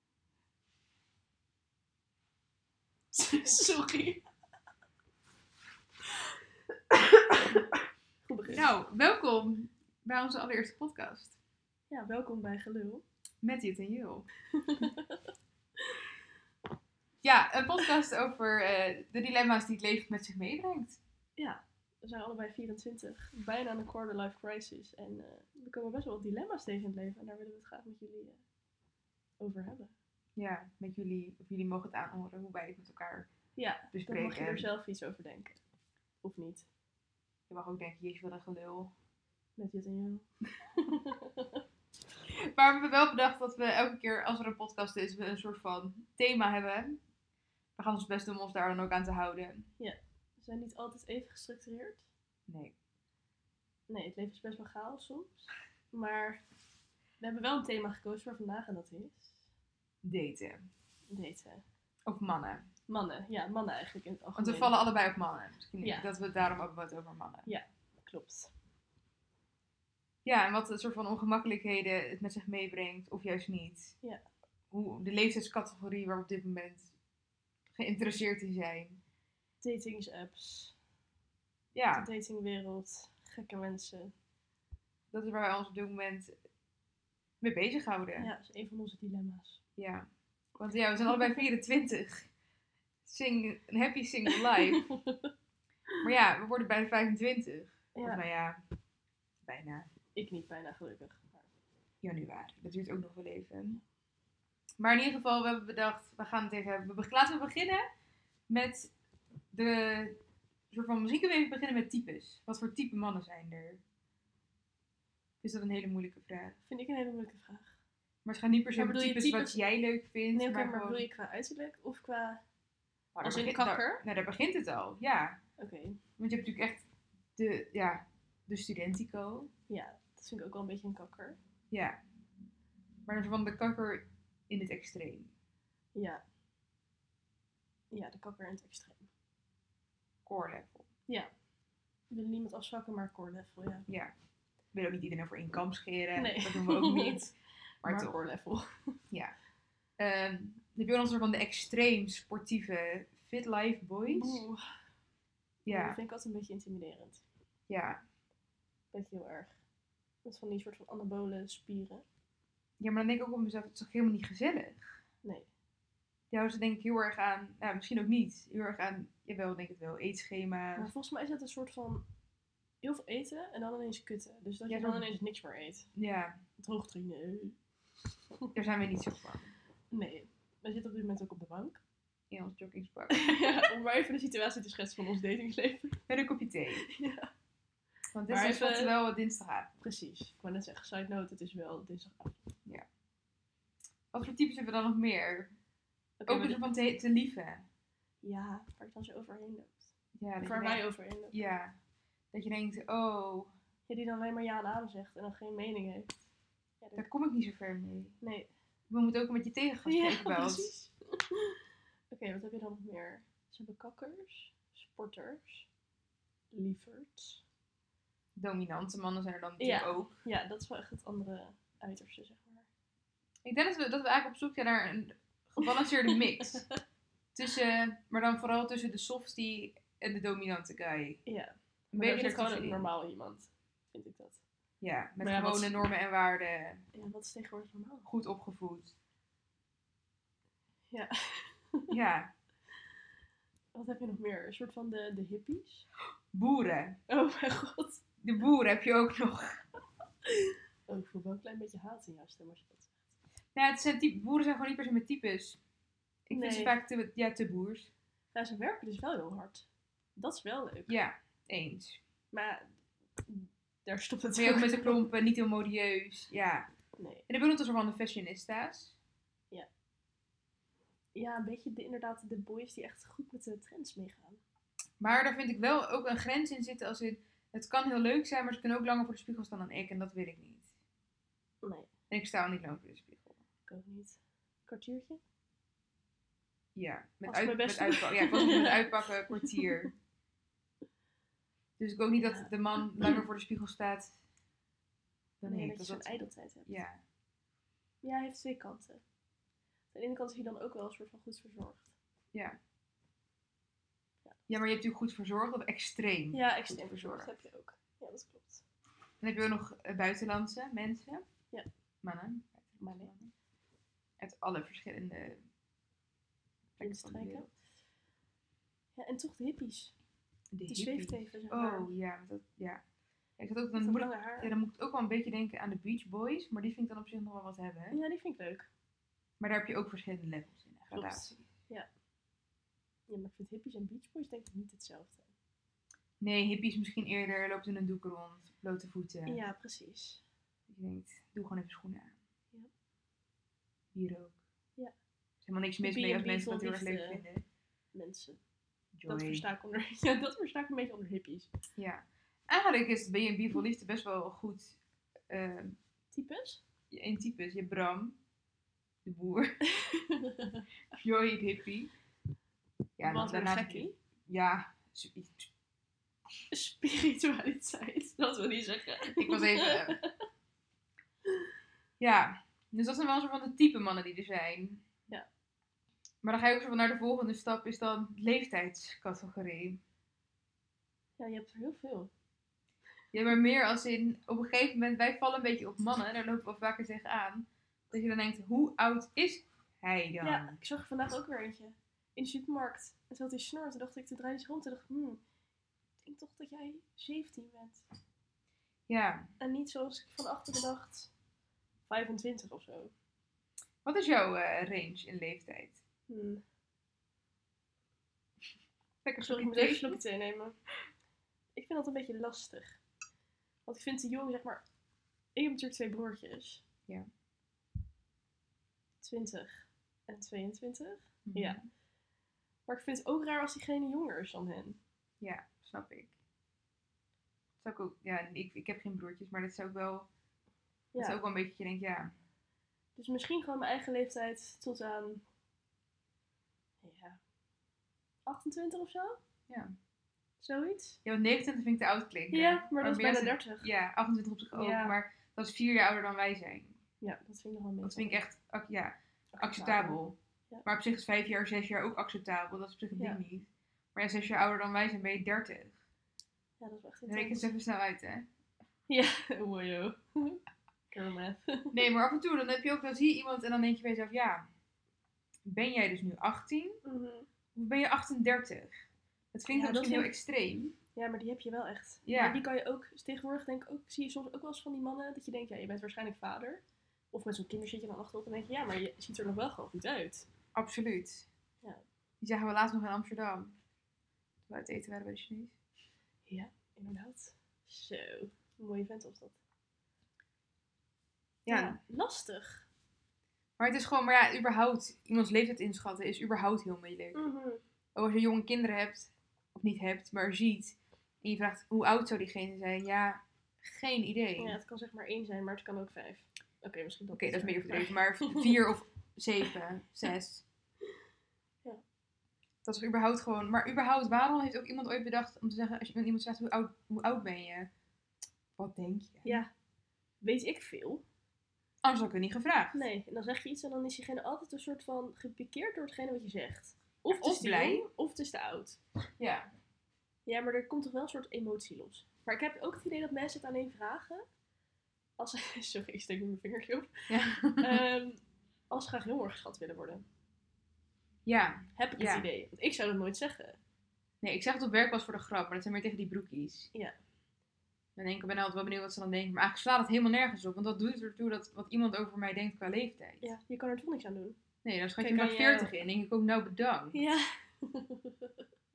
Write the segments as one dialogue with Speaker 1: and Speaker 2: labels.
Speaker 1: Sorry.
Speaker 2: Goed begin.
Speaker 1: Nou, welkom bij onze allereerste podcast.
Speaker 2: Ja, welkom bij Gelul.
Speaker 1: Met Jut en Jul. ja, een podcast over eh, de dilemma's die het leven met zich meebrengt.
Speaker 2: We zijn allebei 24, bijna aan een quarter life crisis. En eh, we komen best wel wat dilemma's tegen in het leven. En daar willen we het graag met jullie eh, over hebben.
Speaker 1: Ja, met jullie, of jullie mogen het aanhoren hoe wij het met elkaar
Speaker 2: Ja, Dan
Speaker 1: bespreken.
Speaker 2: mag je er zelf iets over denken. Of niet.
Speaker 1: Je mag ook denken, jeetje wat een gelul.
Speaker 2: Met Jut en Jul.
Speaker 1: Maar we hebben wel bedacht dat we elke keer als er een podcast is, we een soort van thema hebben. We gaan ons best doen om ons daar dan ook aan te houden.
Speaker 2: We zijn niet altijd even gestructureerd.
Speaker 1: Nee.
Speaker 2: Nee, het leven is best wel chaos soms. Maar we hebben wel een thema gekozen voor vandaag en dat is...
Speaker 1: Daten.
Speaker 2: Daten.
Speaker 1: Of mannen.
Speaker 2: Mannen. Ja, mannen eigenlijk in het algemeen.
Speaker 1: Want we vallen allebei op mannen. Misschien
Speaker 2: Ja.
Speaker 1: dat we het daarom ook wat over mannen.
Speaker 2: Klopt.
Speaker 1: Ja, en wat een soort van ongemakkelijkheden het met zich meebrengt, of juist niet.
Speaker 2: Ja.
Speaker 1: Hoe de leeftijdscategorie waar we op dit moment geïnteresseerd in zijn.
Speaker 2: Datingsapps.
Speaker 1: Ja,
Speaker 2: De datingwereld. Gekke mensen.
Speaker 1: dat is waar wij ons op dit moment mee bezighouden. Ja.
Speaker 2: Ja, dat is een van onze dilemma's.
Speaker 1: Want ja, we zijn allebei 24. Sing, een happy single life. maar ja, we worden bijna 25. Of
Speaker 2: Ja,
Speaker 1: nou ja, bijna.
Speaker 2: ik niet bijna gelukkig. Maar
Speaker 1: januari. Dat duurt ook nog wel even. Maar in ieder geval, we hebben bedacht, we gaan het even hebben. We- Laten we beginnen met de soort van muziek. We even beginnen met types. Wat voor type mannen zijn er? Is dat een hele moeilijke vraag?
Speaker 2: vind ik een hele moeilijke vraag.
Speaker 1: Maar het gaat niet per se
Speaker 2: Maar
Speaker 1: om types,
Speaker 2: bedoel je
Speaker 1: wat
Speaker 2: types-
Speaker 1: jij leuk vindt.
Speaker 2: Nee, oké,
Speaker 1: maar,
Speaker 2: maar
Speaker 1: gewoon-
Speaker 2: bedoel je qua uiterlijk of qua...
Speaker 1: Maar daar
Speaker 2: als een
Speaker 1: begint-
Speaker 2: kakker?
Speaker 1: daar- nou, daar begint het al, ja.
Speaker 2: Oké,
Speaker 1: Want je hebt natuurlijk echt de, ja, de studentico.
Speaker 2: ja, dat vind ik ook wel een beetje een kakker.
Speaker 1: Ja. Maar een soort van de kakker in het extreem.
Speaker 2: Ja. Ja, de kakker in het extreem.
Speaker 1: Core level.
Speaker 2: Ik wil niemand afzwakken, maar core level, ja.
Speaker 1: Ja. Ik wil ook niet iedereen voor één kam scheren.
Speaker 2: Nee.
Speaker 1: Dat doen we ook niet. Maar,
Speaker 2: Maar,
Speaker 1: toch.
Speaker 2: core level.
Speaker 1: Ehm, dan heb je wel een soort van de extreem sportieve fit life boys.
Speaker 2: Oeh, Dat
Speaker 1: Ja,
Speaker 2: vind ik altijd een beetje intimiderend.
Speaker 1: ja.
Speaker 2: Beetje heel erg. Met van die soort van anabole spieren.
Speaker 1: Ja, maar dan denk ik ook op mezelf, het is toch helemaal niet gezellig?
Speaker 2: Nee.
Speaker 1: Ja, ze denk ik heel erg aan, nou, misschien ook niet, heel erg aan, jawel, denk ik wel,
Speaker 2: Maar
Speaker 1: eetschema's.
Speaker 2: volgens mij is dat een soort van heel veel eten en dan ineens kutten. Dus dat
Speaker 1: Ja,
Speaker 2: je dan
Speaker 1: dan-
Speaker 2: ineens niks meer eet.
Speaker 1: Ja,
Speaker 2: Droogtrainen. nee.
Speaker 1: daar zijn we niet zo van.
Speaker 2: Nee. Wij zitten op dit moment ook op de bank.
Speaker 1: In ons joggingspak.
Speaker 2: ja, om maar even de situatie te schetsen van ons datingsleven.
Speaker 1: Met een kopje thee.
Speaker 2: ja.
Speaker 1: Want dit
Speaker 2: Maar
Speaker 1: is
Speaker 2: even-
Speaker 1: wat wel wat dinsdagavond.
Speaker 2: Precies. Ik wou net zeggen, side note, het is wel dinsdagavond.
Speaker 1: Wat voor types hebben we dan nog meer?
Speaker 2: Oké,
Speaker 1: Ook
Speaker 2: maar-
Speaker 1: een soort van te, te lieve.
Speaker 2: Ja, waar je dan zo overheen loopt.
Speaker 1: Ja, dat
Speaker 2: Of
Speaker 1: je
Speaker 2: waar
Speaker 1: denkt-
Speaker 2: wij overheen loopt.
Speaker 1: Ja. Dat je denkt, oh,
Speaker 2: Ja, die dan alleen maar ja en aan zegt en dan geen mening heeft. Ja, dat-
Speaker 1: daar kom ik niet zo ver mee.
Speaker 2: Nee.
Speaker 1: We moeten ook een beetje tegen gaan spreken bij ons.
Speaker 2: precies. Oké, wat heb je dan nog meer? Ze hebben kakkers, sporters, lieverds.
Speaker 1: Dominante mannen zijn er dan natuurlijk
Speaker 2: Ja.
Speaker 1: ook.
Speaker 2: Ja, dat is wel echt het andere uiterste, zeg maar.
Speaker 1: Ik denk dat we, dat we eigenlijk op zoek zijn naar een gebalanceerde mix. tussen, maar dan vooral tussen de softie en de dominante guy.
Speaker 2: Ja.
Speaker 1: Een
Speaker 2: Maar dat
Speaker 1: beetje
Speaker 2: is gewoon een
Speaker 1: ertussenin.
Speaker 2: normaal iemand, vind ik dat.
Speaker 1: dus Ja, met
Speaker 2: Maar ja, wat-
Speaker 1: gewone normen en waarden.
Speaker 2: Ja, wat is tegenwoordig normaal?
Speaker 1: Goed opgevoed.
Speaker 2: Ja.
Speaker 1: Ja,
Speaker 2: Wat heb je nog meer? Een soort van de, de hippies?
Speaker 1: boeren.
Speaker 2: Oh mijn god.
Speaker 1: De boeren heb je ook nog.
Speaker 2: Oh, ik voel wel een klein beetje haat in jouw stem als je dat zegt.
Speaker 1: Ja, Nou, het zijn type, boeren zijn gewoon niet per se mijn types. Ik vind ze
Speaker 2: Nee.
Speaker 1: vaak te, ja, te boers.
Speaker 2: Nou, ze werken dus wel heel hard. Dat is wel leuk.
Speaker 1: Ja, eens.
Speaker 2: Maar mm, daar stopt het
Speaker 1: Ben je ook met de
Speaker 2: ook.
Speaker 1: klompen, niet heel modieus. Ja.
Speaker 2: Nee.
Speaker 1: En dan ben ik soort van de fashionista's.
Speaker 2: Ja, een beetje de, inderdaad de boys die echt goed met de trends meegaan.
Speaker 1: Maar daar vind ik wel ook een grens in zitten als in... Het kan heel leuk zijn, maar ze kunnen ook langer voor de spiegel staan dan ik. En dat wil ik niet.
Speaker 2: Nee,
Speaker 1: En ik sta al niet lang voor de spiegel.
Speaker 2: ik ook niet. Kwartiertje?
Speaker 1: Ja, met,
Speaker 2: Was
Speaker 1: uit,
Speaker 2: mijn
Speaker 1: met
Speaker 2: beste.
Speaker 1: uitpakken. Ja, ik was met uitpakken, kwartier. Dus ik ook niet dat de man langer voor de spiegel staat dan
Speaker 2: Nee,
Speaker 1: ik.
Speaker 2: dat je zo'n ijdeltijd hebt.
Speaker 1: Ja.
Speaker 2: Ja, hij heeft twee kanten. Aan de ene kant is hij dan ook wel een soort van goed verzorgd.
Speaker 1: Ja. Ja, maar je hebt natuurlijk goed verzorgd of extreem.
Speaker 2: Ja, extreem
Speaker 1: Goed verzorgd.
Speaker 2: verzorgd heb je ook. Ja, dat klopt.
Speaker 1: Dan heb je ook nog eh, buitenlandse mensen.
Speaker 2: Ja.
Speaker 1: Mannen. Mannen. Uit alle verschillende plekken van de
Speaker 2: Windstreken.
Speaker 1: wereld.
Speaker 2: Ja, en toch de hippies.
Speaker 1: De
Speaker 2: Die
Speaker 1: hippies.
Speaker 2: zweefteven, zeg maar.
Speaker 1: Oh, ja. Dat, ja. Ik had ook,
Speaker 2: Met
Speaker 1: dan,
Speaker 2: dat
Speaker 1: moet ik,
Speaker 2: lange haar.
Speaker 1: ja, dan moet ik ook wel een beetje denken aan de Beach Boys. Maar die vind ik dan op zich nog wel wat hebben. Hè?
Speaker 2: Ja, die vind ik leuk.
Speaker 1: Maar daar heb je ook verschillende levels in.
Speaker 2: Klopt.
Speaker 1: Gradatie.
Speaker 2: Ja, maar ik vind hippies en Beach Boys denk ik niet hetzelfde.
Speaker 1: Nee, hippies misschien eerder. Loopt in een doek rond. Blote voeten.
Speaker 2: Ja, precies.
Speaker 1: Dat je denkt, doe gewoon even schoenen aan.
Speaker 2: Ja.
Speaker 1: Hier ook.
Speaker 2: Ja.
Speaker 1: Er is helemaal niks mis mee als
Speaker 2: B&B
Speaker 1: mensen
Speaker 2: vol
Speaker 1: dat heel erg leuk
Speaker 2: liefde.
Speaker 1: vinden.
Speaker 2: Mensen.
Speaker 1: Joy.
Speaker 2: eh, Dat versta ik onder... Ja, dat versta ik een beetje onder hippies.
Speaker 1: Ja. Eigenlijk is B&B voor liefde best wel goed eh,
Speaker 2: Types?
Speaker 1: in types. Je hebt Bram, de boer. Joy, de hippie. Ja,
Speaker 2: Wat een
Speaker 1: daarnaast-
Speaker 2: gekkie.
Speaker 1: Ja, zoiets.
Speaker 2: Spiritualiteit, dat wil niet zeggen.
Speaker 1: ik was even... eh. Ja, dus dat zijn wel een soort van de type mannen die er zijn.
Speaker 2: Ja.
Speaker 1: Maar dan ga je ook zo van naar de volgende stap, is dan leeftijdscategorie.
Speaker 2: Ja, je hebt er heel veel.
Speaker 1: Ja, maar meer als in, op een gegeven moment, wij vallen een beetje op mannen, daar lopen we vaker tegenaan. Dat je dan denkt, hoe oud is hij dan?
Speaker 2: Ja. ik zag er vandaag ook weer eentje. In de supermarkt. En toen had hij snor, toen dacht ik, toen draaide hij zich om. Toen dacht ik, hmm, ik denk toch dat jij 17 bent.
Speaker 1: Ja.
Speaker 2: En niet zoals ik van achteren dacht, 25 of zo.
Speaker 1: Wat is jouw eh, range in leeftijd?
Speaker 2: Hmm.
Speaker 1: Lekker
Speaker 2: Sorry, ik moet
Speaker 1: thee.
Speaker 2: even een slokje thee nemen. Ik vind dat een beetje lastig. Want ik vind de jong, zeg maar... Ik heb natuurlijk twee broertjes.
Speaker 1: Ja.
Speaker 2: 20 en 22.
Speaker 1: Mhm.
Speaker 2: Ja. Maar ik vind het ook raar als diegene jonger is dan hen.
Speaker 1: Ja, snap ik. Zou ik ook, ja, ik, ik heb geen broertjes, maar dat is ook wel, dat is
Speaker 2: Ja.
Speaker 1: ook wel een beetje, dat je denkt, ja,
Speaker 2: Dus misschien gewoon mijn eigen leeftijd tot aan... Ja. 28 of zo?
Speaker 1: Ja.
Speaker 2: Zoiets?
Speaker 1: ja want 29 vind ik te oud klinken.
Speaker 2: Ja, maar dat is
Speaker 1: bij
Speaker 2: bijna
Speaker 1: de
Speaker 2: 30.
Speaker 1: Ja, 28 op zich ook,
Speaker 2: Ja.
Speaker 1: maar dat is vier jaar ouder dan wij zijn.
Speaker 2: Ja, dat vind ik nog wel een beetje...
Speaker 1: Dat vind ik echt, ak- ja, acceptabel.
Speaker 2: Ja.
Speaker 1: Maar op zich is vijf jaar, zes jaar ook acceptabel. Dat is op zich
Speaker 2: Ja.
Speaker 1: ding niet. Maar ja, zes jaar ouder dan wij zijn, ben je dertig.
Speaker 2: Ja, dat is wel echt
Speaker 1: Dan reken
Speaker 2: intens.
Speaker 1: ze even snel uit, hè?
Speaker 2: Ja, wojo. Girl math.
Speaker 1: Nee, maar af en toe dan heb je ook, dan zie je iemand en dan denk je bij jezelf, ja, ben jij dus nu 18
Speaker 2: Mhm.
Speaker 1: of ben je 38? Dat klinkt
Speaker 2: Ja,
Speaker 1: dan
Speaker 2: dat
Speaker 1: misschien heel
Speaker 2: vind
Speaker 1: extreem.
Speaker 2: Ja, maar die heb je wel echt.
Speaker 1: Ja.
Speaker 2: Maar die kan je ook, dus tegenwoordig denk ik ook, zie je soms ook wel eens van die mannen dat je denkt, ja, je bent waarschijnlijk vader. Of met zo'n kinderzitje dan achterop en denk je, ja, maar je ziet er nog wel gewoon goed uit.
Speaker 1: Absoluut.
Speaker 2: Ja.
Speaker 1: Die zagen we laatst nog in Amsterdam. Toen we uit eten waren bij de Chinees.
Speaker 2: Ja, inderdaad. Zo, een mooie vent was dat.
Speaker 1: Ja.
Speaker 2: lastig.
Speaker 1: Maar het is gewoon, maar ja, überhaupt, iemands leeftijd inschatten is überhaupt heel moeilijk.
Speaker 2: Mhm.
Speaker 1: Ook Oh, als je jonge kinderen hebt, of niet hebt, maar ziet. En je vraagt hoe oud zou diegene zijn? Ja, geen idee.
Speaker 2: Ja, het kan zeg maar één zijn, maar het kan ook vijf. Oké, misschien dat
Speaker 1: Oké, dat is meer
Speaker 2: waar,
Speaker 1: overdreven,
Speaker 2: maar-
Speaker 1: maar vier of zeven, zes.
Speaker 2: Ja.
Speaker 1: Dat is überhaupt gewoon. Maar überhaupt, waarom heeft ook iemand ooit bedacht om te zeggen, als je aan iemand vraagt hoe oud, hoe oud ben je? Wat denk je?
Speaker 2: Ja, weet ik veel.
Speaker 1: Anders had ik het niet gevraagd.
Speaker 2: Nee, en dan zeg je iets en dan is diegene altijd een soort van gepikeerd door hetgene wat je zegt. Of, het
Speaker 1: of
Speaker 2: is te
Speaker 1: blij.
Speaker 2: jong, of het is te oud.
Speaker 1: Ja.
Speaker 2: Ja, maar er komt toch wel een soort emotie los. Maar ik heb ook het idee dat mensen het aan één vragen. Als ze, sorry, ik steek nu mijn vingertje op.
Speaker 1: Ja.
Speaker 2: Ehm, als ze graag heel erg geschat willen worden.
Speaker 1: ja.
Speaker 2: Heb ik
Speaker 1: Ja.
Speaker 2: het idee. Want ik zou dat nooit zeggen.
Speaker 1: Nee, ik zeg het op werk was voor de grap, maar dat zijn meer tegen die broekies.
Speaker 2: Ja.
Speaker 1: Dan denk ik, ik ben altijd wel benieuwd wat ze dan denken. Maar eigenlijk slaat het helemaal nergens op, want dat doet ertoe dat wat iemand over mij denkt qua leeftijd.
Speaker 2: Ja, je kan er toch niks aan doen.
Speaker 1: Nee, dan schat je
Speaker 2: Kijk,
Speaker 1: maar
Speaker 2: kan je-
Speaker 1: 40 in. Denk ik ook, nou bedankt.
Speaker 2: Ja.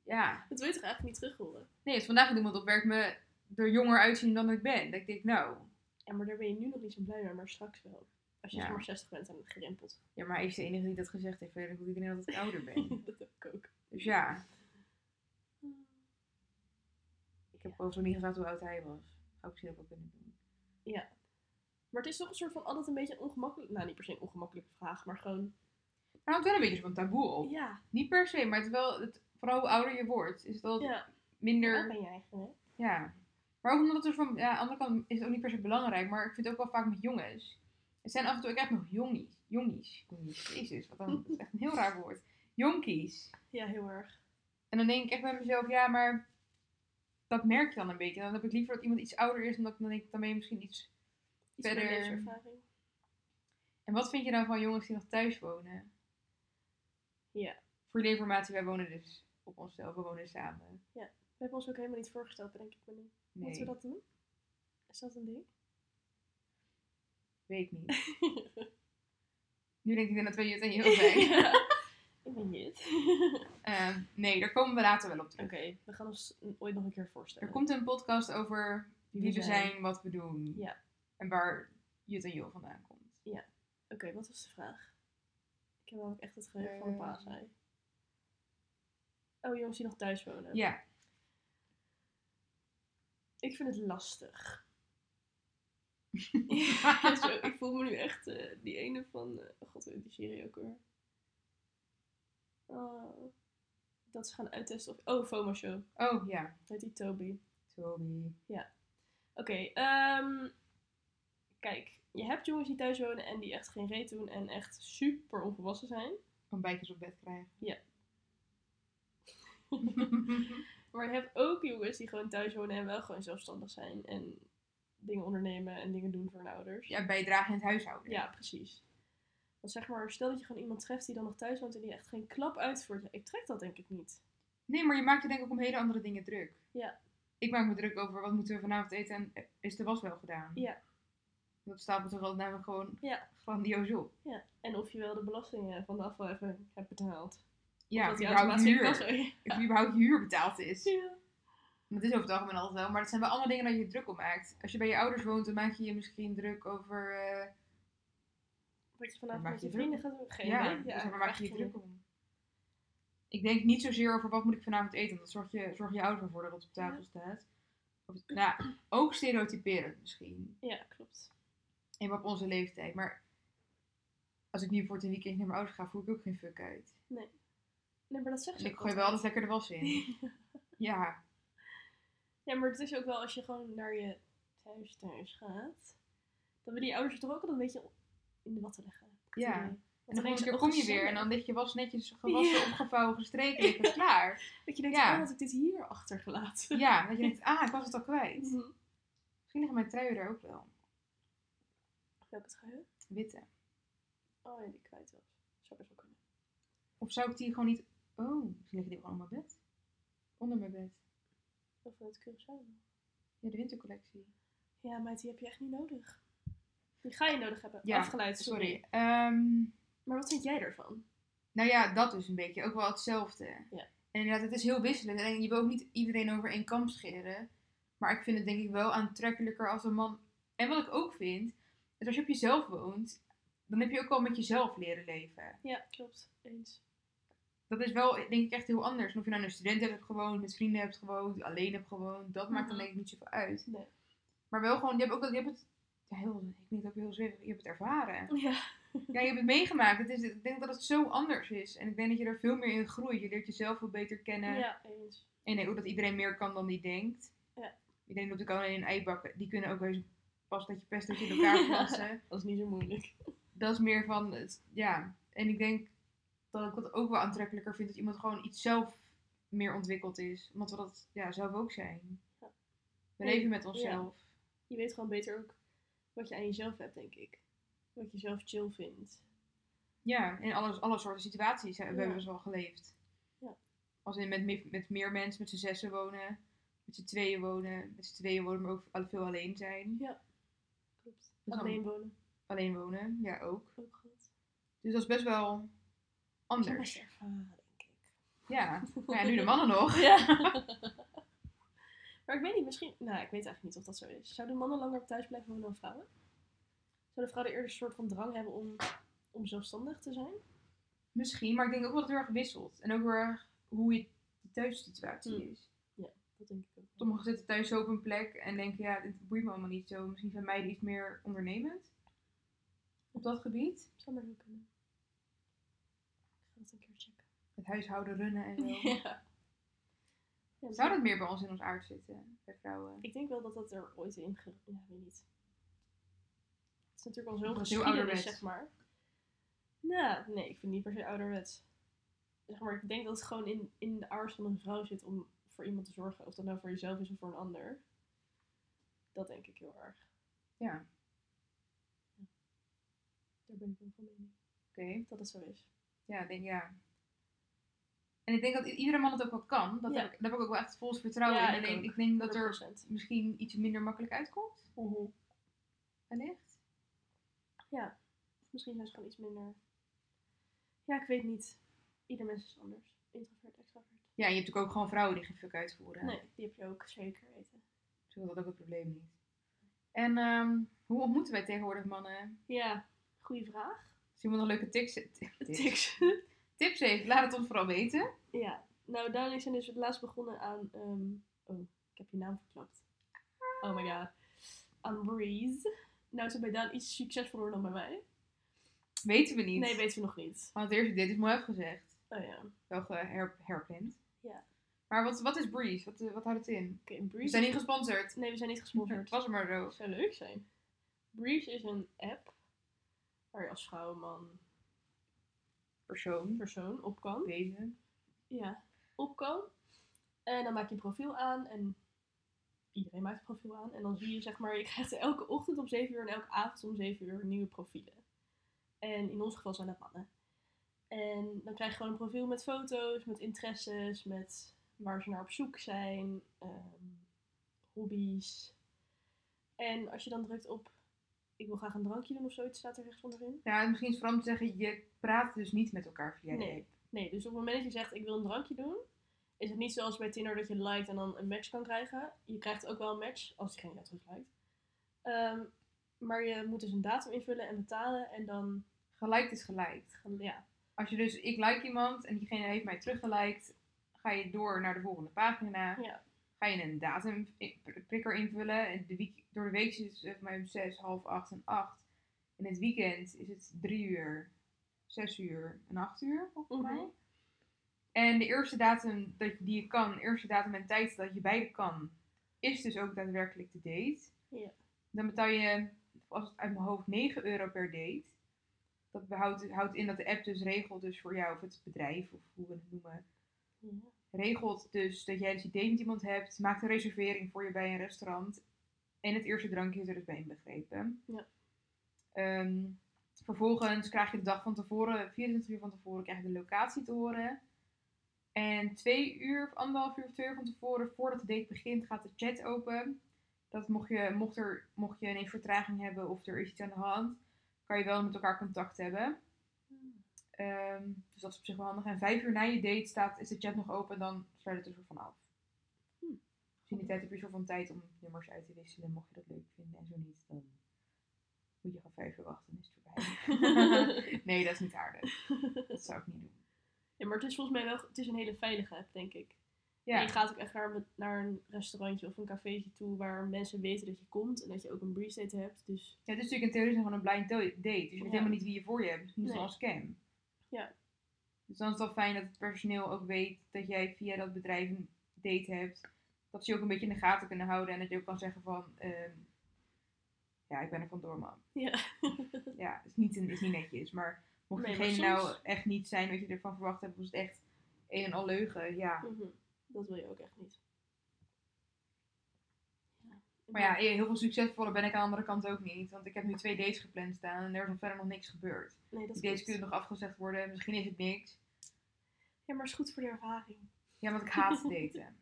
Speaker 1: Ja.
Speaker 2: dat wil je toch eigenlijk niet terug horen.
Speaker 1: Nee, dus vandaag doet iemand op werk me er jonger uitzien dan ik ben. Dat ik denk, nou.
Speaker 2: Ja, maar daar ben je nu nog niet zo blij mee, maar straks wel. Als je
Speaker 1: Ja.
Speaker 2: zeg maar 60 bent en gerempeld.
Speaker 1: Ja, maar hij is de enige die dat gezegd heeft. Verder doet iedereen dat ik ouder ben.
Speaker 2: dat heb ik ook.
Speaker 1: Dus ja, ik heb overigens nog niet gevraagd hoe oud hij was. Zou ik misschien ook wel kunnen doen.
Speaker 2: Maar het is toch een soort van altijd een beetje een ongemakkelijk... Nou, niet per se een ongemakkelijke vraag, maar gewoon...
Speaker 1: Maar hangt wel een beetje van taboe op.
Speaker 2: Ja,
Speaker 1: Niet per se, maar het is wel, het, vooral hoe ouder je wordt, is het wel
Speaker 2: ja.
Speaker 1: minder...
Speaker 2: Waar ben jij eigenlijk?
Speaker 1: Ja. Maar ook omdat het er van... Ja, aan de andere kant is het ook niet per se belangrijk. Maar ik vind het ook wel vaak met jongens. Het zijn af en toe ook echt nog jongies. Jongies. Jongies. Jezus, wat dan? Dat is echt een heel raar woord. Jonkies.
Speaker 2: Ja, heel erg.
Speaker 1: En En dan denk ik echt bij mezelf, ja, maar dat merk je dan een beetje. Dan heb ik liever dat iemand iets ouder is, omdat ik dan denk, dan ben je misschien iets...
Speaker 2: Iets meer
Speaker 1: Verder-
Speaker 2: levenservaring.
Speaker 1: En wat vind je dan van jongens die nog thuis wonen?
Speaker 2: Ja.
Speaker 1: Voor jullie informatie, wij wonen dus op onszelf, we wonen samen.
Speaker 2: We hebben ons ook helemaal niet voorgesteld, denk ik me nu.
Speaker 1: Nee,
Speaker 2: Moeten we dat doen? Is dat een ding?
Speaker 1: weet ik niet. Nu denk ik dat wij het en heel zijn.
Speaker 2: Ja. Ik ben niet.
Speaker 1: Eh, nee, daar komen we later wel op
Speaker 2: Oké,
Speaker 1: terug.
Speaker 2: we gaan ons ooit nog een keer voorstellen.
Speaker 1: Er komt een podcast over wie we zijn, wat we doen.
Speaker 2: Ja.
Speaker 1: En waar Jut en Jo vandaan komt.
Speaker 2: Oké, wat was de vraag? Ik heb ook echt het geheugen van een
Speaker 1: Ehm.
Speaker 2: paasei. Oh, jongens die nog thuis wonen.
Speaker 1: Ja,
Speaker 2: Ik vind het lastig. Ja, zo, ik voel me nu echt eh, die ene van... eh, oh God, hoe heet die serie ook weer. Oh, dat ze gaan uittesten of... Oh, FOMO Show.
Speaker 1: oh ja.
Speaker 2: Heet die Toby.
Speaker 1: Sorry.
Speaker 2: Oké, ehm, kijk. Je hebt jongens die thuis wonen en die echt geen reet doen en echt super onvolwassen zijn.
Speaker 1: Ontbijtjes op bed krijgen.
Speaker 2: Ja. Maar je hebt ook jongens die gewoon thuis wonen en wel gewoon zelfstandig zijn. En dingen ondernemen en dingen doen voor hun ouders.
Speaker 1: ja, bijdragen in het huishouden.
Speaker 2: Ja, precies. Want zeg maar, stel dat je gewoon iemand treft die dan nog thuis woont en die echt geen klap uitvoert. Ja, Ik trek dat denk ik niet.
Speaker 1: Nee, maar je maakt je denk ik om hele andere dingen druk.
Speaker 2: Ja.
Speaker 1: Ik maak me druk over wat moeten we vanavond eten en eh, is de was wel gedaan.
Speaker 2: Ja.
Speaker 1: Dat stapelt er wel namelijk gewoon
Speaker 2: Ja.
Speaker 1: grandioos op.
Speaker 2: Ja. En of je wel de belastingen van de afval even hebt betaald.
Speaker 1: Ja,
Speaker 2: dat
Speaker 1: of
Speaker 2: die
Speaker 1: überhaupt
Speaker 2: automatische
Speaker 1: huur.
Speaker 2: tas
Speaker 1: Of
Speaker 2: er-
Speaker 1: überhaupt huur betaald is.
Speaker 2: Ja.
Speaker 1: Dat is over het algemeen altijd wel, maar dat zijn wel allemaal dingen dat je je druk om maakt. Als je bij je ouders woont, dan maak je je misschien druk over... eh,
Speaker 2: Wat je
Speaker 1: Daar
Speaker 2: vanavond
Speaker 1: maak
Speaker 2: met
Speaker 1: je
Speaker 2: je
Speaker 1: druk
Speaker 2: vrienden gaat doen. Geen
Speaker 1: ja,
Speaker 2: idee.
Speaker 1: dus daar
Speaker 2: ik
Speaker 1: maak
Speaker 2: echt
Speaker 1: je je
Speaker 2: geen
Speaker 1: druk om. Ik denk niet zozeer over wat moet ik vanavond eten. want Dat zorg je, zorg je ouders ervoor dat het op tafel
Speaker 2: Ja.
Speaker 1: staat. Of, nou, ook stereotyperend misschien.
Speaker 2: idee. Ja, klopt.
Speaker 1: Even op onze leeftijd. Maar als ik nu voor het weekend naar mijn ouders ga, voel ik ook geen fuck uit.
Speaker 2: Nee, maar dat zegt
Speaker 1: En
Speaker 2: ze
Speaker 1: ik
Speaker 2: ook
Speaker 1: gooi wel
Speaker 2: altijd.
Speaker 1: altijd lekker de was in. Ja,
Speaker 2: Ja, maar het is ook wel als je gewoon naar je thuis thuis gaat, dan willen je ouders je toch ook al een beetje in de watten leggen. heb ik het
Speaker 1: Ja.
Speaker 2: idee.
Speaker 1: en
Speaker 2: Want denken
Speaker 1: de volgende
Speaker 2: ze,
Speaker 1: keer
Speaker 2: oh,
Speaker 1: kom je weer
Speaker 2: gezellig.
Speaker 1: en dan ligt je was netjes gewassen,
Speaker 2: Ja.
Speaker 1: opgevouwen, gestreken en het klaar.
Speaker 2: Dat je denkt,
Speaker 1: Ja.
Speaker 2: oh, had ik dit hier achtergelaten?
Speaker 1: Ja, dat je denkt, ah, ik was het al kwijt.
Speaker 2: Mhm.
Speaker 1: Misschien liggen mijn truien daar ook wel.
Speaker 2: Welke trui?
Speaker 1: Witte.
Speaker 2: Oh ja, die ik kwijt was. Zou best wel kunnen.
Speaker 1: Of zou ik die gewoon niet... Oh, misschien liggen die gewoon op mijn bed. Onder mijn bed.
Speaker 2: Of uit Curaçao.
Speaker 1: Ja, de wintercollectie.
Speaker 2: Ja, maar die heb je echt niet nodig. Die ga je nodig hebben.
Speaker 1: Ja,
Speaker 2: Afgeleid, sorry.
Speaker 1: Sorry. Ehm,
Speaker 2: Maar wat vind jij ervan?
Speaker 1: nou ja, dat is een beetje. Ook wel hetzelfde.
Speaker 2: Ja.
Speaker 1: En inderdaad, het is heel wisselend. En je wil ook niet iedereen over één kam scheren. Maar ik vind het denk ik wel aantrekkelijker als een man... En wat ik ook vind, is als je op jezelf woont... Dan heb je ook al met jezelf leren leven.
Speaker 2: Ja, klopt. Eens.
Speaker 1: Dat is wel, denk ik, echt heel anders. En of je nou een student hebt gewoond, met vrienden hebt gewoond, alleen hebt gewoond. Dat maakt dan
Speaker 2: Mhm.
Speaker 1: denk ik niet zoveel uit.
Speaker 2: Nee.
Speaker 1: Maar wel gewoon, je hebt ook dat, je hebt het, ja, heel, ik weet niet ook heel zeggen, je hebt het ervaren.
Speaker 2: Ja.
Speaker 1: Ja, je hebt het meegemaakt. Het is, ik denk dat het zo anders is. En ik denk dat je er veel meer in groeit. Je leert jezelf veel beter kennen.
Speaker 2: Ja, eens.
Speaker 1: En nee, ook dat iedereen meer kan dan die denkt.
Speaker 2: Ja.
Speaker 1: Iedereen loopt ook al in een ei bakken. Die kunnen ook wel eens pas dat je pest dat je in elkaar plassen.
Speaker 2: Dat is niet zo moeilijk.
Speaker 1: Dat is meer van, het, ja. En ik denk dat ik dat ook wel aantrekkelijker vind. Dat iemand gewoon iets zelf meer ontwikkeld is. Omdat we dat ja, zelf ook zijn.
Speaker 2: Ja.
Speaker 1: We leven met onszelf.
Speaker 2: Je weet gewoon beter ook wat je aan jezelf hebt, denk ik. Wat je zelf chill vindt.
Speaker 1: Ja, in alle, alle soorten situaties hebben we
Speaker 2: Ja.
Speaker 1: wel eens wel geleefd.
Speaker 2: Ja.
Speaker 1: Als in met, me- met meer mensen, met z'n zessen wonen, met z'n tweeën wonen, met z'n tweeën wonen, maar ook al- veel alleen zijn.
Speaker 2: Klopt.
Speaker 1: Dus
Speaker 2: Alleen
Speaker 1: dan-
Speaker 2: wonen.
Speaker 1: Alleen wonen, ja ook.
Speaker 2: Ook goed.
Speaker 1: Dus dat is best wel anders.
Speaker 2: Best ervaren, denk ik.
Speaker 1: Ja, nou ja nu de mannen nog.
Speaker 2: Ja. maar ik weet niet, misschien... Nou, ik weet eigenlijk niet of dat zo is. Zouden mannen langer thuis blijven wonen dan vrouwen? Zouden vrouwen eerder een soort van drang hebben om, om zelfstandig te zijn?
Speaker 1: Misschien, maar ik denk ook wel dat het heel erg wisselt. En ook heel erg hoe je de thuissituatie
Speaker 2: Hm.
Speaker 1: is.
Speaker 2: Dat denk ik ook. wel.
Speaker 1: Sommigen zitten thuis zo op een plek en denken, ja, dit boeit me allemaal niet zo. Misschien zijn meiden iets meer ondernemend op dat gebied.
Speaker 2: Zou maar zo kunnen. Ik ga dat een keer checken.
Speaker 1: Het huishouden runnen en zo.
Speaker 2: Ja. Ja,
Speaker 1: Zou dat meer bij ons in ons aard zitten, bij vrouwen?
Speaker 2: Ik denk wel dat dat er ooit in... Ge... Ja, weet niet. Het is natuurlijk al
Speaker 1: Dat
Speaker 2: zo'n
Speaker 1: is heel
Speaker 2: geschiedenis,
Speaker 1: ouderwets.
Speaker 2: zeg maar. Nou, nee, ik vind het niet per se ouderwets. zeg maar, ik denk dat het gewoon in, in de ouders van een vrouw zit om voor iemand te zorgen. Of dat nou voor jezelf is of voor een ander. Dat denk ik heel erg.
Speaker 1: Ja.
Speaker 2: Daar ben ik wel van mening.
Speaker 1: Oké.
Speaker 2: Dat het zo is.
Speaker 1: Ja, ik denk ja. En ik denk dat i- iedere man het ook wel kan. Dat
Speaker 2: Ja.
Speaker 1: heb ik, daar heb ik ook wel echt volgens vertrouwen
Speaker 2: Ja,
Speaker 1: in.
Speaker 2: ik
Speaker 1: Alleen
Speaker 2: ook.
Speaker 1: ik denk dat er
Speaker 2: 100%.
Speaker 1: misschien iets minder makkelijk uitkomt.
Speaker 2: Mhm.
Speaker 1: Wellicht.
Speaker 2: Ja. Of misschien zijn ze gewoon iets minder. Ja, ik weet niet. Ieder mens is anders. Introvert, extrovert.
Speaker 1: Ja, en je hebt natuurlijk ook gewoon vrouwen die geen fuck uitvoeren.
Speaker 2: Nee, die heb je ook zeker weten.
Speaker 1: Zo is dat ook het probleem niet. En ehm, hoe ontmoeten wij tegenwoordig mannen?
Speaker 2: Ja, goede vraag.
Speaker 1: Als iemand nog leuke tics, ti- tips.
Speaker 2: Tiks.
Speaker 1: tips heeft, laat het ons vooral weten.
Speaker 2: ja, nou Dani zijn dus het laatst begonnen aan. ehm, oh, ik heb je naam verklapt. Oh my god. Aan Breeze. Nou, ze bij Daan iets succesvoller dan bij mij.
Speaker 1: Weten we niet.
Speaker 2: Nee, weten we nog niet.
Speaker 1: Want eerst dit is mooi afgezegd.
Speaker 2: Oh ja. Oké,
Speaker 1: Wel geher- herpland.
Speaker 2: Ja.
Speaker 1: Maar wat, wat is Breeze? Wat, eh, wat houdt het in? We
Speaker 2: Breeze.
Speaker 1: zijn niet Hmm. gesponsord.
Speaker 2: Nee, we zijn niet
Speaker 1: Het
Speaker 2: gesponsord.
Speaker 1: was er maar zo.
Speaker 2: zou leuk zijn. Breeze is een app waar je als vrouw, man,
Speaker 1: Persoon.
Speaker 2: persoon op kan.
Speaker 1: Wezen.
Speaker 2: Ja, op kan. En dan maak je een profiel aan en iedereen maakt een profiel aan. En dan zie je, zeg maar, je krijgt elke ochtend om 7 uur en elke avond om 7 uur nieuwe profielen. En in ons geval zijn dat mannen. En dan krijg je gewoon een profiel met foto's, met interesses, met waar ze naar op zoek zijn, ehm, hobby's. En als je dan drukt op, ik wil graag een drankje doen of zoiets, staat er rechts onderin.
Speaker 1: Ja, misschien is het vooral om te zeggen, je praat dus niet met elkaar via de
Speaker 2: Nee.
Speaker 1: app.
Speaker 2: Nee, dus op het moment dat je zegt ik wil een drankje doen, is het niet zoals bij Tinder dat je liked en dan een match kan krijgen. Je krijgt ook wel een match als diegene jou terug liked. Ehm, maar je moet dus een datum invullen en betalen en dan,
Speaker 1: Gelijk is gelijk.
Speaker 2: gaan- ja,
Speaker 1: Als je dus, ik like iemand en diegene heeft mij teruggeliked, ga je door naar de volgende pagina.
Speaker 2: Ja.
Speaker 1: Ga je een datumprikker invullen. En de week, door de week zit het eh, voor mij om 6, half 8 en 8. In het weekend is het 3 uur, 6 uur en 8 uur, volgens
Speaker 2: Mhm.
Speaker 1: mij. En de eerste datum dat, die je kan, de eerste datum en tijd dat je beide kan, is dus ook daadwerkelijk de date.
Speaker 2: Ja.
Speaker 1: Dan betaal je, als het uit mijn hoofd, 9 euro per date. Dat behoudt, houdt in dat de app dus regelt dus voor jou, of het bedrijf, of hoe we het noemen,
Speaker 2: ja,
Speaker 1: regelt dus dat jij dus die date met iemand hebt, maakt een reservering voor je bij een restaurant. En het eerste drankje is er dus bij inbegrepen.
Speaker 2: Ja.
Speaker 1: Ehm, vervolgens krijg je de dag van tevoren, 24 uur van tevoren, krijg je de locatie te horen. En twee uur, of anderhalf uur, of twee uur van tevoren, voordat de date begint, gaat de chat open. Dat mocht je, mocht, er, mocht je ineens vertraging hebben of er is iets aan de hand, kan je wel met elkaar contact hebben. Ehm, dus dat is op zich wel handig. En vijf uur na je date staat, is de chat nog open, dan sluit het er soort van af.
Speaker 2: Hm.
Speaker 1: Dus in die tijd heb je soort van tijd om nummers uit te wisselen, mocht je dat leuk vinden. En zo niet, dan moet je gewoon vijf uur wachten, dan is het voorbij. nee, dat is niet aardig. Dat zou ik niet doen.
Speaker 2: Ja, maar het is volgens mij wel, het is een hele veilige app, denk ik. En
Speaker 1: Ja,
Speaker 2: je gaat ook echt naar, naar een restaurantje of een cafeetje toe waar mensen weten dat je komt en dat je ook een breeze date hebt. Dus
Speaker 1: ja het is natuurlijk in theorie gewoon een blind do- date. Dus je weet
Speaker 2: Ja.
Speaker 1: helemaal niet wie je voor je hebt. Misschien is het
Speaker 2: Nee.
Speaker 1: wel een scam.
Speaker 2: Ja.
Speaker 1: Dus dan is het wel fijn dat het personeel ook weet dat jij via dat bedrijf een date hebt. Dat ze je ook een beetje in de gaten kunnen houden. En dat je ook kan zeggen van... ehm, ja, ik ben er vandoor, man.
Speaker 2: ja.
Speaker 1: Ja, is niet, is niet netjes. Maar mocht
Speaker 2: Nee, maar
Speaker 1: diegene nou
Speaker 2: soms-
Speaker 1: echt niet zijn wat je ervan verwacht hebt... was het echt een en al leugen, ja.
Speaker 2: Mhm. dat wil je ook echt niet. Ja.
Speaker 1: Maar ja, heel veel succesvoller ben ik aan de andere kant ook niet. Want ik heb nu twee dates gepland staan en er is al verder nog niks gebeurd.
Speaker 2: nee, dat
Speaker 1: Die
Speaker 2: is
Speaker 1: dates
Speaker 2: goed.
Speaker 1: kunnen nog afgezegd worden, misschien is het niks.
Speaker 2: Ja, maar het is goed voor de ervaring.
Speaker 1: Ja, want ik haat daten.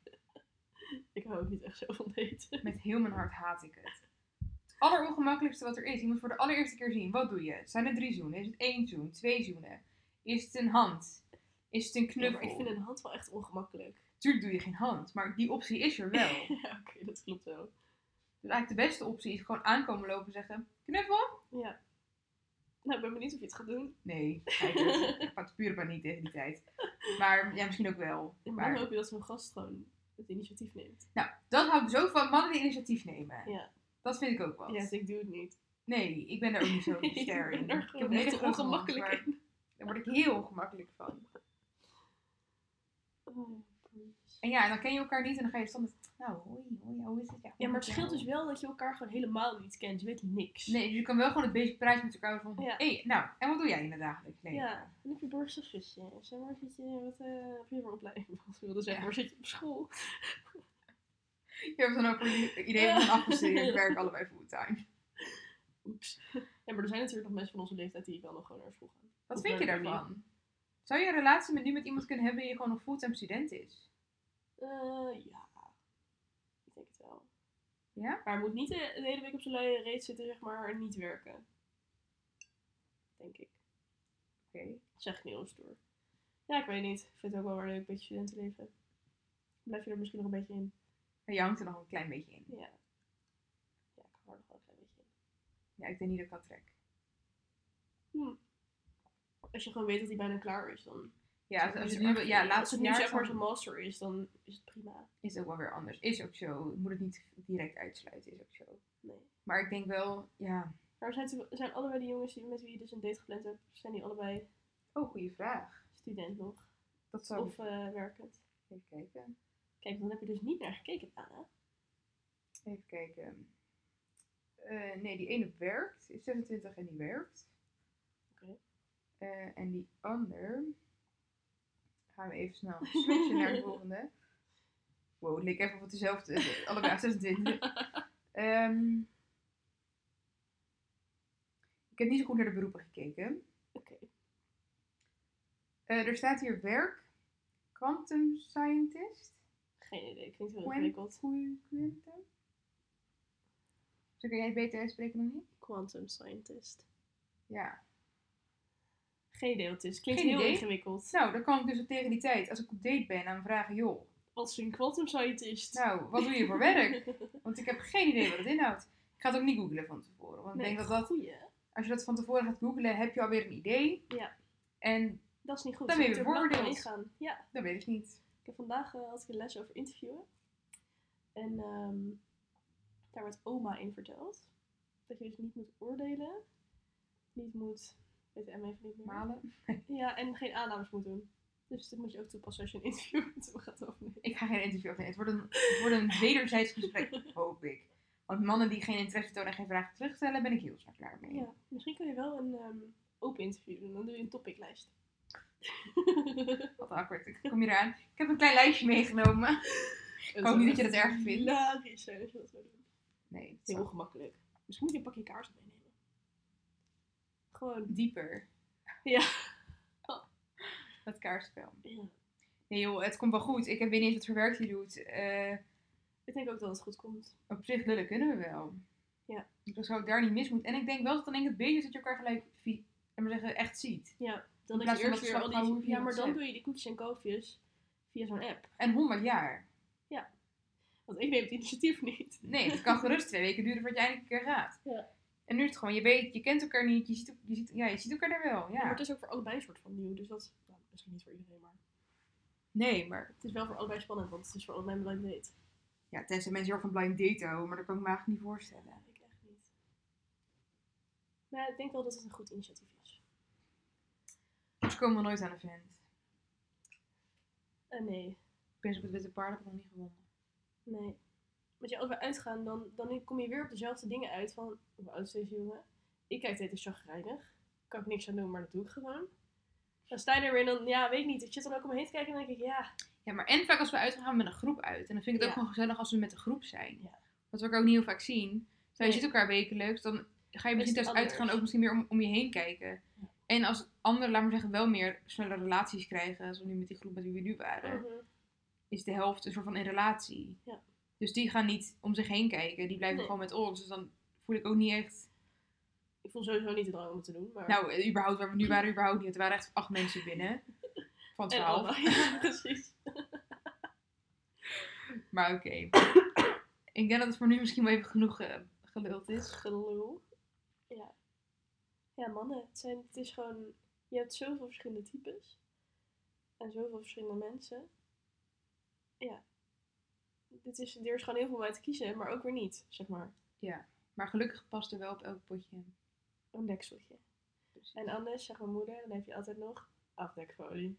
Speaker 2: Ik hou ook niet echt zo van daten.
Speaker 1: Met heel mijn hart haat ik het. Het allerongemakkelijkste wat er is, je moet voor de allereerste keer zien, wat doe je? Zijn er drie zoenen? Is het één zoen? Twee zoenen? Is het een hand? Is het een knuffel?
Speaker 2: ik vind een hand wel echt ongemakkelijk.
Speaker 1: Tuurlijk doe je geen hand, maar die optie is er wel.
Speaker 2: ja, oké, dat klopt wel.
Speaker 1: Dus eigenlijk de beste optie is gewoon aankomen lopen en zeggen, knuffel?
Speaker 2: Ja. Nou, ik ben benieuwd of je het gaat doen.
Speaker 1: Nee, eigenlijk. ik had pure paniek tegen die tijd. Maar ja, misschien ook wel.
Speaker 2: En
Speaker 1: Maar-
Speaker 2: dan hoop je dat zo'n gast gewoon het initiatief neemt.
Speaker 1: Nou, dat hou ik zo van mannen die initiatief nemen.
Speaker 2: Ja.
Speaker 1: Dat vind ik ook wat.
Speaker 2: Ja, dus ik doe het niet.
Speaker 1: Nee, ik ben er ook niet zo
Speaker 2: ik
Speaker 1: ster in.
Speaker 2: ben er
Speaker 1: heb
Speaker 2: gewoon
Speaker 1: een hele
Speaker 2: echt
Speaker 1: grote mond,
Speaker 2: ongemakkelijk
Speaker 1: maar
Speaker 2: in.
Speaker 1: Daar word ik heel ongemakkelijk van.
Speaker 2: Oh, niet.
Speaker 1: En ja, en dan ken je elkaar niet en dan ga je soms. Nou, hoi, hoi, hoe is het?
Speaker 2: Ja, maar het
Speaker 1: goed,
Speaker 2: scheelt
Speaker 1: ja.
Speaker 2: dus wel dat je elkaar gewoon helemaal niet kent. Je weet niks.
Speaker 1: Nee, dus je kan wel gewoon het basic praatje met elkaar van.
Speaker 2: Ja.
Speaker 1: hey, nou, en wat doe jij in het dagelijks leven?
Speaker 2: Ja, en heb je burgerservice? Of zeg maar, zit je, wat eh, heb je voor opleiding? Wat wilde zeggen, maar zit je op school?
Speaker 1: Je hebt dan ook een idee van afgestudeerd, we werken allebei fulltime.
Speaker 2: Oeps. Ja, maar er zijn natuurlijk nog mensen van onze leeftijd die wel nog gewoon naar school gaan.
Speaker 1: Wat
Speaker 2: Op
Speaker 1: vind je
Speaker 2: welke manier?
Speaker 1: daarvan? Zou je een relatie met, nu met iemand kunnen hebben die gewoon nog fulltime student is?
Speaker 2: Eh, ja, ik denk het wel.
Speaker 1: Ja?
Speaker 2: Maar hij moet niet de, de hele week op zijn luie reet zitten, zeg maar, en niet werken. Denk ik.
Speaker 1: Oké.
Speaker 2: Dat zeg ik niet ons door. Ja, ik weet niet. Ik vind het ook wel weer leuk, een beetje studentenleven. Blijf je er misschien nog een beetje in?
Speaker 1: Maar je hangt er nog een klein beetje in.
Speaker 2: Ja. Ja, ik hou er nog wel een klein beetje in.
Speaker 1: Ja, ik denk niet dat ik dat trek.
Speaker 2: Als je gewoon weet dat hij bijna klaar is, dan...
Speaker 1: Ja, als,
Speaker 2: Zeg maar,
Speaker 1: als het
Speaker 2: is er
Speaker 1: nu,
Speaker 2: echt-
Speaker 1: ja,
Speaker 2: Als
Speaker 1: laatste
Speaker 2: het nu
Speaker 1: jaar
Speaker 2: zeg maar
Speaker 1: dan
Speaker 2: zijn master is, dan is het prima.
Speaker 1: is het ook wel weer anders. Is ook zo. Ik moet het niet direct uitsluiten, is ook zo.
Speaker 2: Nee. Maar
Speaker 1: Maar ik denk wel, ja.
Speaker 2: er zijn, er zijn allebei die jongens die, met wie je dus een date gepland hebt, zijn die allebei
Speaker 1: Oh, goede vraag.
Speaker 2: student nog?
Speaker 1: Dat zou
Speaker 2: Of eh, werkend?
Speaker 1: Even kijken.
Speaker 2: Kijk, dan heb je dus niet naar gekeken, Anna.
Speaker 1: Even kijken. Eh, nee, die ene werkt. Is 26 en die werkt.
Speaker 2: Oké.
Speaker 1: Eh, en die ander. Gaan we even snel switchen naar de volgende. Wow, het leek even of het dezelfde is. Allebei 26. Ehm, ik heb niet zo goed naar de beroepen gekeken.
Speaker 2: Oké.
Speaker 1: Eh, er staat hier werk. Quantum scientist.
Speaker 2: Geen idee, klinkt heel
Speaker 1: Quantum.
Speaker 2: ingewikkeld.
Speaker 1: Quantum. Zo kun jij het beter uitspreken dan ik?
Speaker 2: Quantum scientist.
Speaker 1: Ja.
Speaker 2: Geen idee wat het is. Klinkt
Speaker 1: Geen
Speaker 2: heel
Speaker 1: idee.
Speaker 2: ingewikkeld.
Speaker 1: Nou, dan kan ik dus tegen die tijd, als ik op date ben, aan hem vragen, joh,
Speaker 2: Wat is een quantum scientist?
Speaker 1: nou, wat doe je voor werk? Want ik heb geen idee wat het inhoudt. Ik ga het ook niet googlen van tevoren. Want
Speaker 2: Nee,
Speaker 1: ik denk dat dat,
Speaker 2: goeie.
Speaker 1: als je dat van tevoren gaat googlen, heb je alweer een idee.
Speaker 2: Ja.
Speaker 1: En
Speaker 2: Dat is niet goed.
Speaker 1: Dan ben je weer
Speaker 2: Ik durf er lang op
Speaker 1: veroordeeld.
Speaker 2: ingaan. Ja.
Speaker 1: dat weet ik niet.
Speaker 2: Ik heb vandaag eh, had ik een les over interviewen. En ehm, daar werd oma in verteld. Dat je dus niet moet oordelen. Niet moet... Weet de M even niet meer.
Speaker 1: Malen.
Speaker 2: Ja, en geen aannames moet doen. Dus dat moet je ook toepassen als je een interview met hem gaat opnemen.
Speaker 1: Ik ga geen interview afnemen. Het wordt een, het wordt een wederzijds gesprek, hoop ik. Want mannen die geen interesse tonen en geen vragen terugstellen, ben ik heel snel klaar mee.
Speaker 2: Ja, misschien kan je wel een ehm, open interview doen. Dan doe je een topiclijst.
Speaker 1: Wat awkward. Ik kom hier aan. Ik heb een klein lijstje meegenomen.
Speaker 2: ik
Speaker 1: hoop niet dat je dat erg vindt.
Speaker 2: Hilarisch zijn als je Nou, dat zou doen.
Speaker 1: Nee, het is
Speaker 2: Heel gemakkelijk. Misschien moet je een pakje kaars meenemen. Gewoon.
Speaker 1: dieper.
Speaker 2: Ja.
Speaker 1: Dat kaarspel.
Speaker 2: ja.
Speaker 1: Nee joh, het komt wel goed. Ik heb weer niet eens wat voor werk je doet. Eh,
Speaker 2: Ik denk ook dat het goed komt.
Speaker 1: op zich lullen kunnen we wel.
Speaker 2: Ja.
Speaker 1: Dus zou ik daar niet mis moeten. En ik denk wel dat dan denk ik het beter is dat je elkaar gelijk vi- laat maar zeggen, echt ziet.
Speaker 2: Ja. Dan
Speaker 1: In
Speaker 2: heb
Speaker 1: plaats
Speaker 2: je
Speaker 1: van
Speaker 2: eerst
Speaker 1: dat
Speaker 2: weer al
Speaker 1: zwart blauw
Speaker 2: die...
Speaker 1: hoekje
Speaker 2: Ja, maar
Speaker 1: op
Speaker 2: dan
Speaker 1: zet.
Speaker 2: doe je die koekjes en koofjes via zo'n app.
Speaker 1: En 100 jaar.
Speaker 2: Want ik neem het initiatief niet.
Speaker 1: Nee, het kan gerust twee weken duren voordat je eindelijk een keer gaat.
Speaker 2: Ja.
Speaker 1: En nu is het gewoon, je weet, je kent elkaar niet, je ziet, el- je ziet, ja, je ziet elkaar daar wel.
Speaker 2: Maar
Speaker 1: Ja.
Speaker 2: het is ook voor allebei een soort van nieuw. Dus dat is nou, misschien niet voor iedereen, maar...
Speaker 1: Nee, maar
Speaker 2: Het is wel voor allebei spannend, want het is voor allebei een blind date.
Speaker 1: ja, tenzij mensen heel erg van blind date houden, maar dat kan ik me eigenlijk niet voorstellen.
Speaker 2: ik echt niet. Maar ja, ik denk wel dat het een goed initiatief is.
Speaker 1: Ze komen we nooit aan een vent.
Speaker 2: Eh, nee,
Speaker 1: Prins op het witte paard heb ik nog niet gewonnen.
Speaker 2: nee. Want ja, als we uitgaan, dan, dan kom je weer op dezelfde dingen uit van... Hoe oud is deze jongen? Ik kijk dit is chagrijnig. Kan ik niks aan doen, maar dat doe ik gewoon. Dan sta je er weer en dan... Ja, weet ik niet. Ik zit dan ook om me heen te kijken en dan denk ik... Ja,
Speaker 1: Ja, maar en vaak als we uitgaan, gaan we met een groep uit. En dan vind ik het ook
Speaker 2: Ja.
Speaker 1: gewoon gezellig als we met een groep zijn.
Speaker 2: Ja.
Speaker 1: Wat we ook ook niet heel vaak zien. Terwijl je
Speaker 2: Nee.
Speaker 1: ziet elkaar wekelijks, dan ga je
Speaker 2: Is het
Speaker 1: misschien tijdens
Speaker 2: anders.
Speaker 1: uitgaan ook misschien meer om, om je heen kijken.
Speaker 2: Ja.
Speaker 1: En als anderen, laat maar zeggen, wel meer snelle relaties krijgen, zoals nu met die groep met wie we nu waren,
Speaker 2: mhm.
Speaker 1: is de helft een soort van in relatie.
Speaker 2: Ja.
Speaker 1: Dus die gaan niet om zich heen kijken, die blijven
Speaker 2: Nee.
Speaker 1: gewoon met ons. Dus dan voel ik ook niet echt,
Speaker 2: ik voel sowieso niet de drang om het te doen, maar...
Speaker 1: nou, eh, überhaupt waar we nu waren, überhaupt niet. Er waren echt acht mensen binnen. Van
Speaker 2: en
Speaker 1: twaalf.
Speaker 2: allemaal. Ja, precies.
Speaker 1: Maar oké. ik denk dat het voor nu misschien wel even genoeg eh, geluld is.
Speaker 2: Gelul. Ja. Ja, mannen. Het, zijn, het is gewoon... Je hebt zoveel verschillende types. En zoveel verschillende mensen. Ja. Dit is, er is gewoon heel veel om uit te kiezen, maar ook weer niet, zeg maar.
Speaker 1: Maar gelukkig past er wel op elk potje. Dus,
Speaker 2: Een dekseltje. En anders, zeg mijn moeder, dan heb je altijd nog afdekfolie.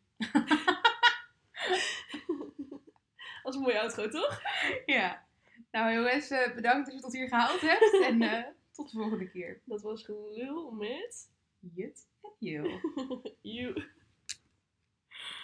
Speaker 2: was een mooie outro, toch?
Speaker 1: eh, Ja. Nou jongens, eh, bedankt dat je tot hier gehaald hebt. En eh, tot de volgende keer.
Speaker 2: Dat was gelul met...
Speaker 1: Jut en Jul.
Speaker 2: you.